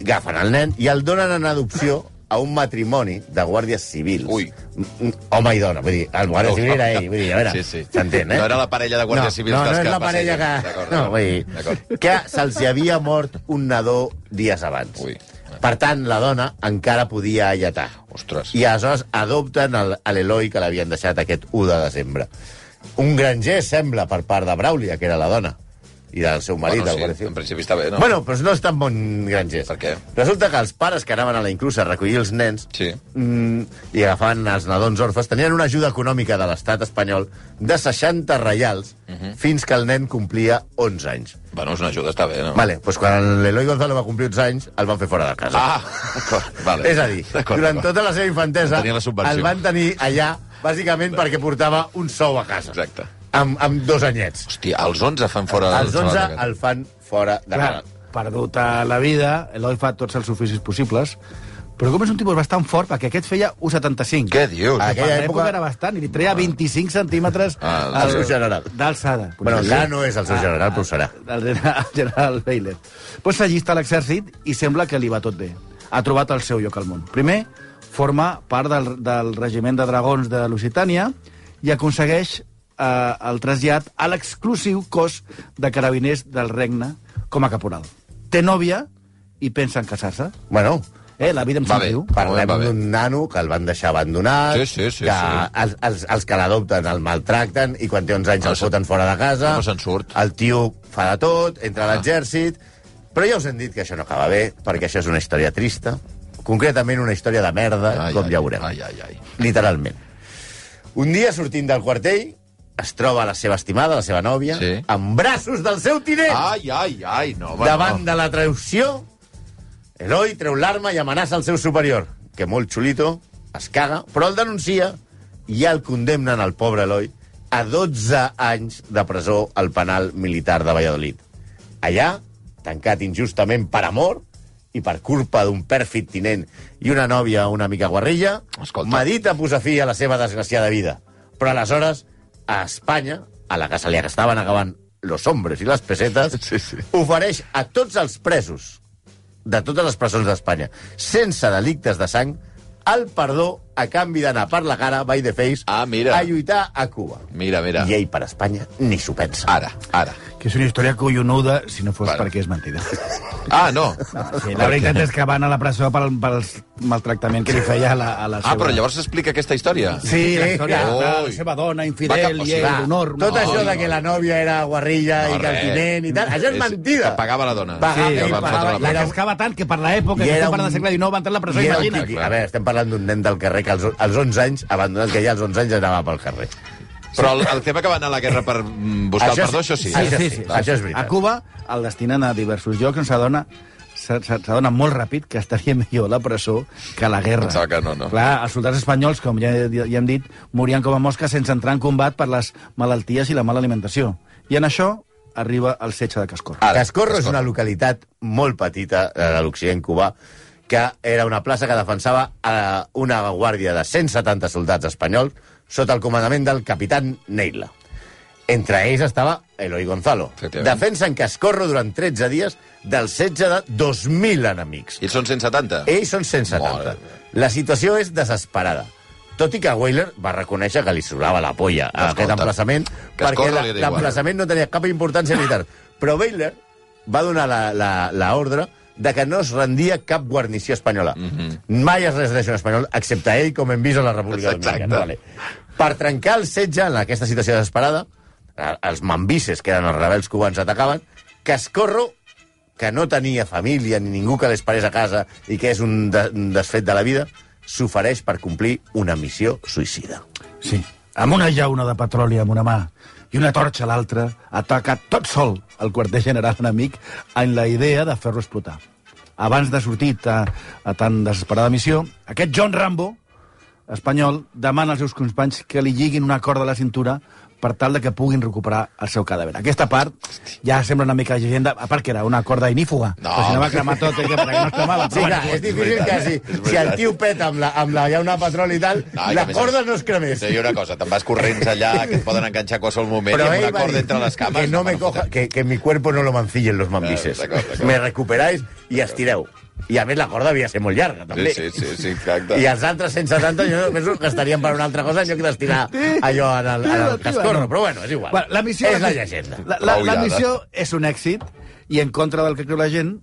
[SPEAKER 3] agafen el nen i el donen en adopció a un matrimoni de guàrdies civils.
[SPEAKER 2] Ui.
[SPEAKER 3] Mm, Home i dona, vull dir, el guàrdia civil era ell, vull dir, a veure,
[SPEAKER 2] Sí, sí.
[SPEAKER 3] s'entén, eh?
[SPEAKER 2] No era la parella de guàrdies civils
[SPEAKER 3] no,
[SPEAKER 2] que
[SPEAKER 3] no
[SPEAKER 2] es-
[SPEAKER 3] és
[SPEAKER 2] que
[SPEAKER 3] la parella
[SPEAKER 2] passegen.
[SPEAKER 3] que...
[SPEAKER 2] D'acord,
[SPEAKER 3] No,
[SPEAKER 2] d'acord.
[SPEAKER 3] vull dir,
[SPEAKER 2] D'acord.
[SPEAKER 3] que se'ls hi havia mort un nadó dies abans.
[SPEAKER 2] Ui.
[SPEAKER 3] Per tant, la dona encara podia alletar.
[SPEAKER 2] Ostres.
[SPEAKER 3] I aleshores adopten el- a l'Eloi que l'havien deixat aquest 1 de desembre. Un gran gest, sembla, per part de Braulia, que era la dona, i del seu marit.
[SPEAKER 2] Bueno,
[SPEAKER 3] del Guàrdia
[SPEAKER 2] sí,
[SPEAKER 3] Civil.
[SPEAKER 2] en principi està bé, no?
[SPEAKER 3] Bueno, però no és tan bon gran gest.
[SPEAKER 2] Per què?
[SPEAKER 3] Resulta que els pares que anaven a la inclusa a recollir els nens
[SPEAKER 2] Sí.
[SPEAKER 3] mm, i agafaven els nadons orfes, tenien una ajuda econòmica de l'estat espanyol de 60 reials
[SPEAKER 2] Mhm.
[SPEAKER 3] fins que el nen complia 11 anys.
[SPEAKER 2] Bueno, és una ajuda, està bé, no?
[SPEAKER 3] Vale, doncs quan l'Eloi Gonzalo va complir 11 anys, el van fer fora de casa.
[SPEAKER 2] Ah, d'acord, vale.
[SPEAKER 3] És a dir,
[SPEAKER 2] D'acord,
[SPEAKER 3] durant
[SPEAKER 2] d'acord.
[SPEAKER 3] tota la seva infantesa
[SPEAKER 2] Tenia la subvenció.
[SPEAKER 3] el van tenir allà bàsicament perquè portava un sou a casa.
[SPEAKER 2] Exacte. Ah, doncs
[SPEAKER 3] Amb, amb dos anyets.
[SPEAKER 2] Hòstia, els 11 fan fora...
[SPEAKER 3] Els
[SPEAKER 2] del
[SPEAKER 3] 11
[SPEAKER 2] salat,
[SPEAKER 3] el fan fora de casa.
[SPEAKER 4] Clar, perdut a la vida, Eloi fa tots els oficis possibles, però com és un tipus bastant fort, perquè aquest feia un 75.
[SPEAKER 2] aquest. Què dius?
[SPEAKER 3] Ah,
[SPEAKER 4] Per
[SPEAKER 3] que-
[SPEAKER 4] l'època
[SPEAKER 3] època-
[SPEAKER 4] Ah. era bastant, i li treia 25 centímetres
[SPEAKER 2] Ah,
[SPEAKER 3] el seu general.
[SPEAKER 4] d'alçada.
[SPEAKER 3] Bueno, encara no és el seu
[SPEAKER 4] Ah,
[SPEAKER 3] general, però ho serà.
[SPEAKER 4] El general, el general Bailey. Pues s'allista a l'exèrcit i sembla que li va tot bé. Ha trobat el seu lloc al món. Primer, forma part del, del regiment de dragons de Lusitània i aconsegueix eh, el trasllat a l'exclusiu cos de carabiners del regne com a caporal. Té nòvia i pensa en casar-se.
[SPEAKER 3] Bueno,
[SPEAKER 4] Eh, la vida em
[SPEAKER 2] Va bé.
[SPEAKER 4] somriu.
[SPEAKER 3] Parlem
[SPEAKER 2] Va bé.
[SPEAKER 3] d'un nano que el van deixar abandonat,
[SPEAKER 2] Sí, sí, sí,
[SPEAKER 3] que
[SPEAKER 2] sí.
[SPEAKER 3] Els, els, els que l'adopten el maltracten i quan té 11 anys
[SPEAKER 2] No
[SPEAKER 3] el
[SPEAKER 2] se'n-
[SPEAKER 3] foten fora de casa.
[SPEAKER 2] no se'n surt. Ah.
[SPEAKER 3] El tio fa de tot, entra a l'exèrcit... Però ja us hem dit que això no acaba bé, perquè això és una història trista, concretament una història de merda,
[SPEAKER 2] Ai,
[SPEAKER 3] com
[SPEAKER 2] ai,
[SPEAKER 3] ja veurem.
[SPEAKER 2] Ai, ai, ai.
[SPEAKER 3] Literalment. Un dia, sortint del quartell, es troba la seva estimada, la seva nòvia,
[SPEAKER 2] Sí. Ah,
[SPEAKER 3] en braços del seu tinent!
[SPEAKER 2] Ai, ai, ai, no, home,
[SPEAKER 3] Davant
[SPEAKER 2] no.
[SPEAKER 3] de la traducció, Eloi treu l'arma i amenaça el seu superior, que molt xulito, es caga, però el denuncia i el condemnen al pobre Eloi a 12 anys de presó al penal militar de Valladolid. Allà, tancat injustament per amor i per culpa d'un pèrfid tinent i una nòvia una mica guarrilla,
[SPEAKER 2] Escolta.
[SPEAKER 3] medita posar fi a la seva desgraciada vida. Però aleshores, a Espanya, a la que se li estaven acabant los hombres i les pesetes,
[SPEAKER 2] Sí, sí.
[SPEAKER 3] ofereix a tots els presos de totes les presons d'Espanya, sense delictes de sang, el perdó a canvi d'anar per la cara, by the face,
[SPEAKER 2] Ah, mira.
[SPEAKER 3] a lluitar a Cuba.
[SPEAKER 2] Mira, Ah, mira.
[SPEAKER 3] I ell per Espanya ni s'ho pensa.
[SPEAKER 2] Ara, ara.
[SPEAKER 4] Que que és una història collonuda si no fos
[SPEAKER 2] Bueno.
[SPEAKER 4] bueno. perquè és mentida.
[SPEAKER 2] Ah, no.
[SPEAKER 4] Sí, la veritat és que van a la presó pel, pel maltractament que li feia a la, a la
[SPEAKER 2] Ah,
[SPEAKER 4] seva...
[SPEAKER 2] però llavors s'explica aquesta història.
[SPEAKER 4] Sí, la història
[SPEAKER 2] Sí.
[SPEAKER 4] de la
[SPEAKER 2] Ui.
[SPEAKER 4] seva dona,
[SPEAKER 2] Va
[SPEAKER 4] infidel,
[SPEAKER 2] cap- o
[SPEAKER 4] i
[SPEAKER 2] sigui,
[SPEAKER 4] ell,
[SPEAKER 2] va,
[SPEAKER 4] l'honor...
[SPEAKER 3] Tot
[SPEAKER 2] No,
[SPEAKER 3] això
[SPEAKER 2] no,
[SPEAKER 3] de que la nòvia era guarrilla
[SPEAKER 2] No,
[SPEAKER 3] i calquinent
[SPEAKER 2] res.
[SPEAKER 3] i tal, això és, mentida.
[SPEAKER 2] Que pagava la dona.
[SPEAKER 3] Pagava,
[SPEAKER 2] que
[SPEAKER 3] ell
[SPEAKER 2] el van
[SPEAKER 3] pagava,
[SPEAKER 2] fotre a
[SPEAKER 4] La
[SPEAKER 2] la presó.
[SPEAKER 4] cascava tant que per
[SPEAKER 3] I
[SPEAKER 4] l'època, que
[SPEAKER 3] era
[SPEAKER 4] estem parlant
[SPEAKER 3] un-
[SPEAKER 4] del segle XIX, va entrar a la presó,
[SPEAKER 3] I era un
[SPEAKER 4] imagina't.
[SPEAKER 3] quiqui. A veure, estem parlant d'un nen del carrer que als, als 11 anys, abandonat que ja als 11 anys anava pel carrer.
[SPEAKER 2] Però el, el tema que va anar a la guerra per mm, buscar
[SPEAKER 3] Això
[SPEAKER 2] el
[SPEAKER 3] sí.
[SPEAKER 2] perdó, això sí.
[SPEAKER 3] Ah,
[SPEAKER 4] Sí, sí,
[SPEAKER 3] sí,
[SPEAKER 4] sí.
[SPEAKER 3] això és veritat.
[SPEAKER 4] A Cuba el destinen a diversos llocs on s'adona s'ad- s'ad- s'adona molt ràpid que estaria millor a la presó que a la guerra.
[SPEAKER 2] Pensava que no, no.
[SPEAKER 4] Clar, els soldats espanyols, com ja, ja hem dit, morien com a mosques sense entrar en combat per les malalties i la mala alimentació. I en això arriba el setge de Cascor.
[SPEAKER 2] Ara,
[SPEAKER 3] Cascorro és
[SPEAKER 2] Cascorro.
[SPEAKER 3] una localitat molt petita eh, de l'Occident cubà que era una plaça que defensava eh, una guàrdia de 170 soldats espanyols sota el comandament del capitán Neila. Entre ells estava Eloi Gonzalo.
[SPEAKER 2] Efectivament.
[SPEAKER 3] Defensen Cascorro durant 13 dies del setge de 2.000 enemics.
[SPEAKER 2] I són 170.
[SPEAKER 3] Ells són 170.
[SPEAKER 2] Molt bé.
[SPEAKER 3] La situació és desesperada. Tot i que Weiler va reconèixer que li sobrava la polla a
[SPEAKER 2] Escolta,
[SPEAKER 3] aquest emplaçament,
[SPEAKER 2] que es
[SPEAKER 3] perquè
[SPEAKER 2] corra
[SPEAKER 3] la-
[SPEAKER 2] li eh? da igual.
[SPEAKER 3] l'emplaçament no tenia cap importància militar. Però Weiler va donar la- la- la ordre de que no es rendia cap guarnició espanyola. Mai es rendeix un espanyol, excepte ell, com hem vist a la República
[SPEAKER 2] Exacte.
[SPEAKER 3] Dominicana. Vale. Per trencar el setge en aquesta situació desesperada, eh, els mambises, que eren els rebels cubans, atacaven, Cascorro que no tenia família ni ningú que les parés a casa i que és un, de, un desfet de la vida, s'ofereix per complir una missió suïcida.
[SPEAKER 4] Sí, amb una llauna de petroli amb una mà i una torxa a l'altra, ataca tot sol el quarter general enemic en la idea de fer-lo explotar. Abans de sortir a, a tan desesperada missió, aquest John Rambo, espanyol, demana als seus companys que li lliguin una corda a la cintura per tal de que puguin recuperar el seu cadàver. Aquesta part ja sembla una mica llegenda, a part que era una corda inífuga,
[SPEAKER 2] No.
[SPEAKER 4] però si no va cremar tot, eh, que perquè no es cremava.
[SPEAKER 3] Sí,
[SPEAKER 4] però
[SPEAKER 3] clar,
[SPEAKER 4] bueno.
[SPEAKER 3] és difícil que si, si el tio peta amb la, amb la llauna de petroli i tal,
[SPEAKER 2] No, i
[SPEAKER 3] la
[SPEAKER 2] que a més
[SPEAKER 3] corda
[SPEAKER 2] és-
[SPEAKER 3] no es cremés.
[SPEAKER 2] Sí, una cosa, te'n vas corrents allà, que et poden enganxar a qualsevol moment, Però i amb
[SPEAKER 3] ell
[SPEAKER 2] una
[SPEAKER 3] va
[SPEAKER 2] corda
[SPEAKER 3] dir
[SPEAKER 2] entre les cames...
[SPEAKER 3] Que no me
[SPEAKER 2] bueno,
[SPEAKER 3] coja, que, que mi cuerpo no lo mancillen los mambises.
[SPEAKER 2] D'acord, d'acord.
[SPEAKER 3] Me recuperáis i estireu. I a més la corda havia de ser molt llarga, també.
[SPEAKER 2] Sí, sí, sí, sí, exacte.
[SPEAKER 3] I els altres 170 jo penso que estarien per una altra cosa en lloc d'estirar allò en el, en el cascorro. Però bueno, és igual.
[SPEAKER 4] Bueno, la missió
[SPEAKER 3] és la llegenda.
[SPEAKER 4] La, la,
[SPEAKER 2] Prou
[SPEAKER 4] la
[SPEAKER 2] llarga.
[SPEAKER 4] missió és un èxit i en contra del que creu la gent,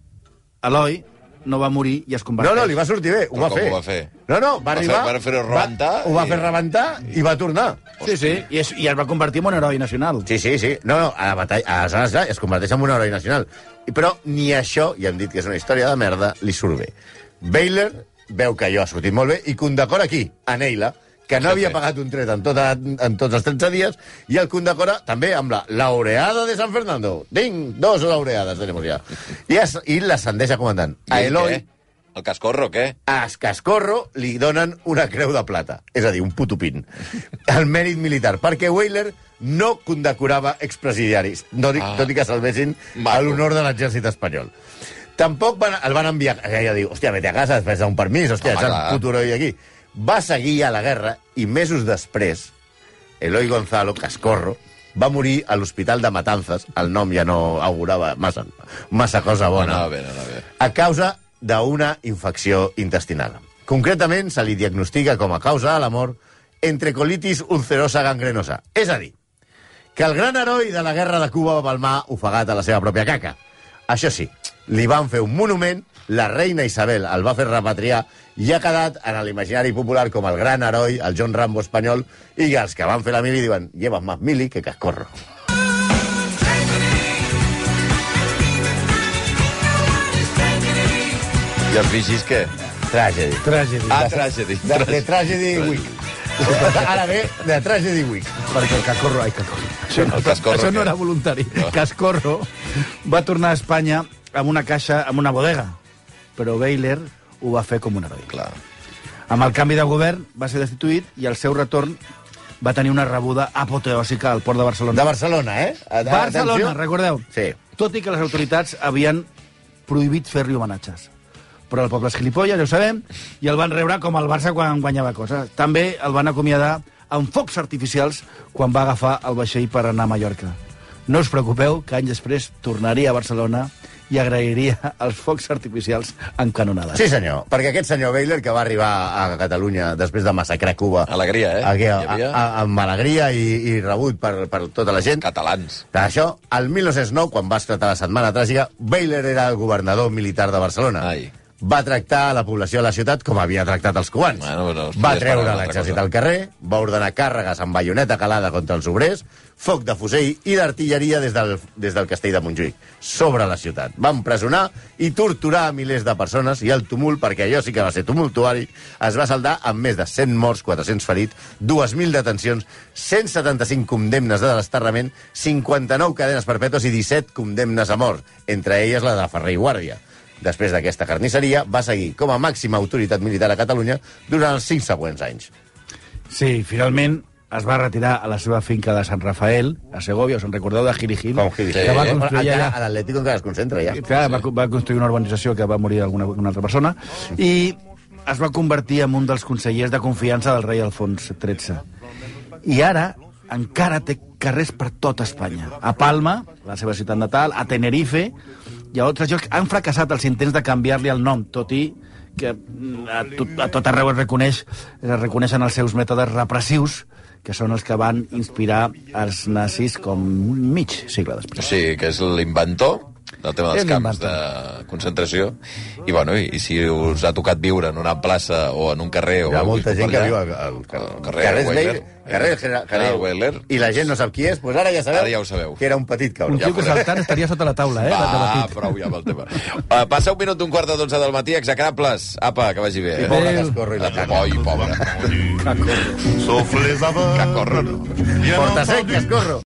[SPEAKER 4] Eloi no va morir i es converteix.
[SPEAKER 3] No, no, li va sortir bé, ho
[SPEAKER 2] Però
[SPEAKER 3] va
[SPEAKER 2] com
[SPEAKER 3] fer.
[SPEAKER 2] ho va fer?
[SPEAKER 3] eh, No, no, va,
[SPEAKER 2] Va fer-
[SPEAKER 3] arribar...
[SPEAKER 2] va fer-ho rebentar
[SPEAKER 3] Va, ho va
[SPEAKER 2] i-
[SPEAKER 3] fer rebentar i va tornar.
[SPEAKER 4] Sí, sí, i, és, i es va convertir en un heroi nacional.
[SPEAKER 3] Sí, sí, sí. No, no, a la batalla, aleshores, clar, es converteix en un heroi nacional. I- Però ni això, ja hem dit que és una història de merda, li surt bé. Baylor veu que allò ha sortit molt bé i condecora aquí, a Neila, que no
[SPEAKER 2] Sí,
[SPEAKER 3] havia
[SPEAKER 2] sí.
[SPEAKER 3] pagat un tret en, tota, en tots els 13 dies, i el condecora també amb la laureada de San Fernando. Ding, dos laureades tenemos ja. I, es, i l'ascendeix a comandant.
[SPEAKER 2] I
[SPEAKER 3] A
[SPEAKER 2] ell
[SPEAKER 3] Eloi,
[SPEAKER 2] què? El cascorro, què?
[SPEAKER 3] a Escascorro li donen una creu de plata, és a dir, un putupin, el mèrit militar, perquè Weyler no condecorava expresidiaris, no, ah.
[SPEAKER 2] Ah.
[SPEAKER 3] tot i que salvessin
[SPEAKER 2] Maco.
[SPEAKER 3] a l'honor de l'exèrcit espanyol. Tampoc van, el van enviar... Ella diu, hòstia, vete a casa després d'un permís, hòstia,
[SPEAKER 2] Home,
[SPEAKER 3] ets
[SPEAKER 2] clar.
[SPEAKER 3] un puturoi aquí. Va seguir a la guerra i mesos després, Eloi Gonzalo Cascorro va morir a l'hospital de Matanzas, el nom ja no augurava massa, massa cosa
[SPEAKER 2] No,
[SPEAKER 3] bona
[SPEAKER 2] no, bé, no, no, bé.
[SPEAKER 3] a causa d'una infecció intestinal. Concretament, se li diagnostica com a causa de la mort entrecolitis ulcerosa gangrenosa. És a dir, que el gran heroi de la guerra de Cuba va palmar ofegat a la seva pròpia caca. Això sí, li van fer un monument, la reina Isabel el va fer repatriar i ha quedat en l'imaginari popular com el gran heroi, el John Rambo espanyol, i els que van fer la mili diuen llevas más mili que cascorro.
[SPEAKER 2] I els vigis, què?
[SPEAKER 3] Tragedy.
[SPEAKER 4] Tràgedi.
[SPEAKER 2] Ah, tragedy.
[SPEAKER 3] De, de Tragedy
[SPEAKER 2] Tragedy.
[SPEAKER 3] Week. Ara ve de Tragedy Week.
[SPEAKER 4] Perquè el Cacorro... Ai, Cacorro. Això no,
[SPEAKER 2] El Cascorro,
[SPEAKER 4] això
[SPEAKER 2] què?
[SPEAKER 4] no era voluntari.
[SPEAKER 2] No.
[SPEAKER 4] Cascorro va tornar a Espanya amb una caixa, amb una bodega. Però Baylor ho va fer com un heroi.
[SPEAKER 2] Clar.
[SPEAKER 4] Amb el canvi de govern va ser destituït i al seu retorn va tenir una rebuda apoteòsica al port de Barcelona.
[SPEAKER 3] De Barcelona, eh? A- a-
[SPEAKER 4] Barcelona,
[SPEAKER 3] atenció.
[SPEAKER 4] recordeu.
[SPEAKER 3] Sí.
[SPEAKER 4] Tot i que les autoritats havien prohibit fer-li homenatges. Però el poble és gilipolles, ja ho sabem, i el van rebre com el Barça quan guanyava coses. També el van acomiadar amb focs artificials quan va agafar el vaixell per anar a Mallorca. No us preocupeu, que anys després tornaria a Barcelona i agrairia els focs artificials en canonades.
[SPEAKER 3] Sí, senyor, perquè aquest senyor Baylor que va arribar a Catalunya després de massacrar Cuba...
[SPEAKER 2] Alegria, eh?
[SPEAKER 3] Aquí, a,
[SPEAKER 2] Hi havia.
[SPEAKER 3] a, a, amb alegria i, i rebut per, per tota la gent.
[SPEAKER 2] Catalans.
[SPEAKER 3] Això, el 1909, quan va esclatar la Setmana Tràgica, Baylor era el governador militar de Barcelona.
[SPEAKER 2] Ai.
[SPEAKER 3] Va tractar a la població de la ciutat com havia tractat els cubans.
[SPEAKER 2] Bueno, no es podia
[SPEAKER 3] va
[SPEAKER 2] esperar
[SPEAKER 3] treure
[SPEAKER 2] una altra
[SPEAKER 3] l'exèrcit
[SPEAKER 2] cosa.
[SPEAKER 3] al carrer, va ordenar càrregues amb baioneta calada contra els obrers, foc de fusell i d'artilleria des, del, des del castell de Montjuïc, sobre la ciutat. Va empresonar i torturar a milers de persones i el tumult, perquè allò sí que va ser tumultuari, es va saldar amb més de 100 morts, 400 ferits, 2.000 detencions, 175 condemnes de desterrament, 59 cadenes perpètues i 17 condemnes a mort, entre elles la de Ferrer i Guàrdia. Després d'aquesta carnisseria, va seguir com a màxima autoritat militar a Catalunya durant els cinc següents anys.
[SPEAKER 4] Sí, finalment es va retirar a la seva finca de Sant Rafael, a Segovia, us en recordeu de Giri Gil?
[SPEAKER 3] Com que dic,
[SPEAKER 2] Sí.
[SPEAKER 4] Que va
[SPEAKER 3] eh?
[SPEAKER 4] construir
[SPEAKER 3] Encara-
[SPEAKER 4] allà.
[SPEAKER 3] a l'Atlético encara es concentra, ja.
[SPEAKER 4] I, Clar, va, va construir una urbanització que va morir alguna una altra persona i es va convertir en un dels consellers de confiança del rei Alfons XIII. I ara encara té carrers per tota Espanya. A Palma, la seva ciutat natal, a Tenerife i a altres llocs han fracassat els intents de canviar-li el nom, tot i que mm, a tot, a tot arreu es reconeix, es reconeixen els seus mètodes repressius, que són els que van inspirar els nazis com mig segle després.
[SPEAKER 2] O sigui, que és l'inventor del tema dels
[SPEAKER 4] És
[SPEAKER 2] camps de
[SPEAKER 4] l'inventor.
[SPEAKER 2] concentració. I, bueno, i, i si us ha tocat viure en una plaça o en un carrer...
[SPEAKER 3] Hi ha
[SPEAKER 2] o
[SPEAKER 3] molta gent que viu al, al,
[SPEAKER 2] al
[SPEAKER 3] al
[SPEAKER 2] carrer,
[SPEAKER 3] carrer Weiler.
[SPEAKER 2] Weiler.
[SPEAKER 3] Carrer, Gerard- carrer,
[SPEAKER 2] Ah, Weiler.
[SPEAKER 3] I la gent no sap qui és, doncs ara ja sabeu,
[SPEAKER 2] Ara ja ho sabeu.
[SPEAKER 3] que era un petit
[SPEAKER 4] Un
[SPEAKER 3] cabró.
[SPEAKER 2] Ja
[SPEAKER 4] tio que
[SPEAKER 2] veurem.
[SPEAKER 4] saltant estaria sota la taula, eh? de- de
[SPEAKER 2] Va,
[SPEAKER 4] petit.
[SPEAKER 2] prou ja amb el tema. Uh, passa un minut d'un quart a dotze del matí, execrables. Apa, que vagi bé.
[SPEAKER 3] I
[SPEAKER 2] Eh?
[SPEAKER 3] pobre que es corri la caca.
[SPEAKER 2] Ai, pobre.
[SPEAKER 1] Sauf les aveugles.
[SPEAKER 2] Que corren.
[SPEAKER 1] Bien
[SPEAKER 3] Porta sec,
[SPEAKER 1] entendu.
[SPEAKER 3] que es corro.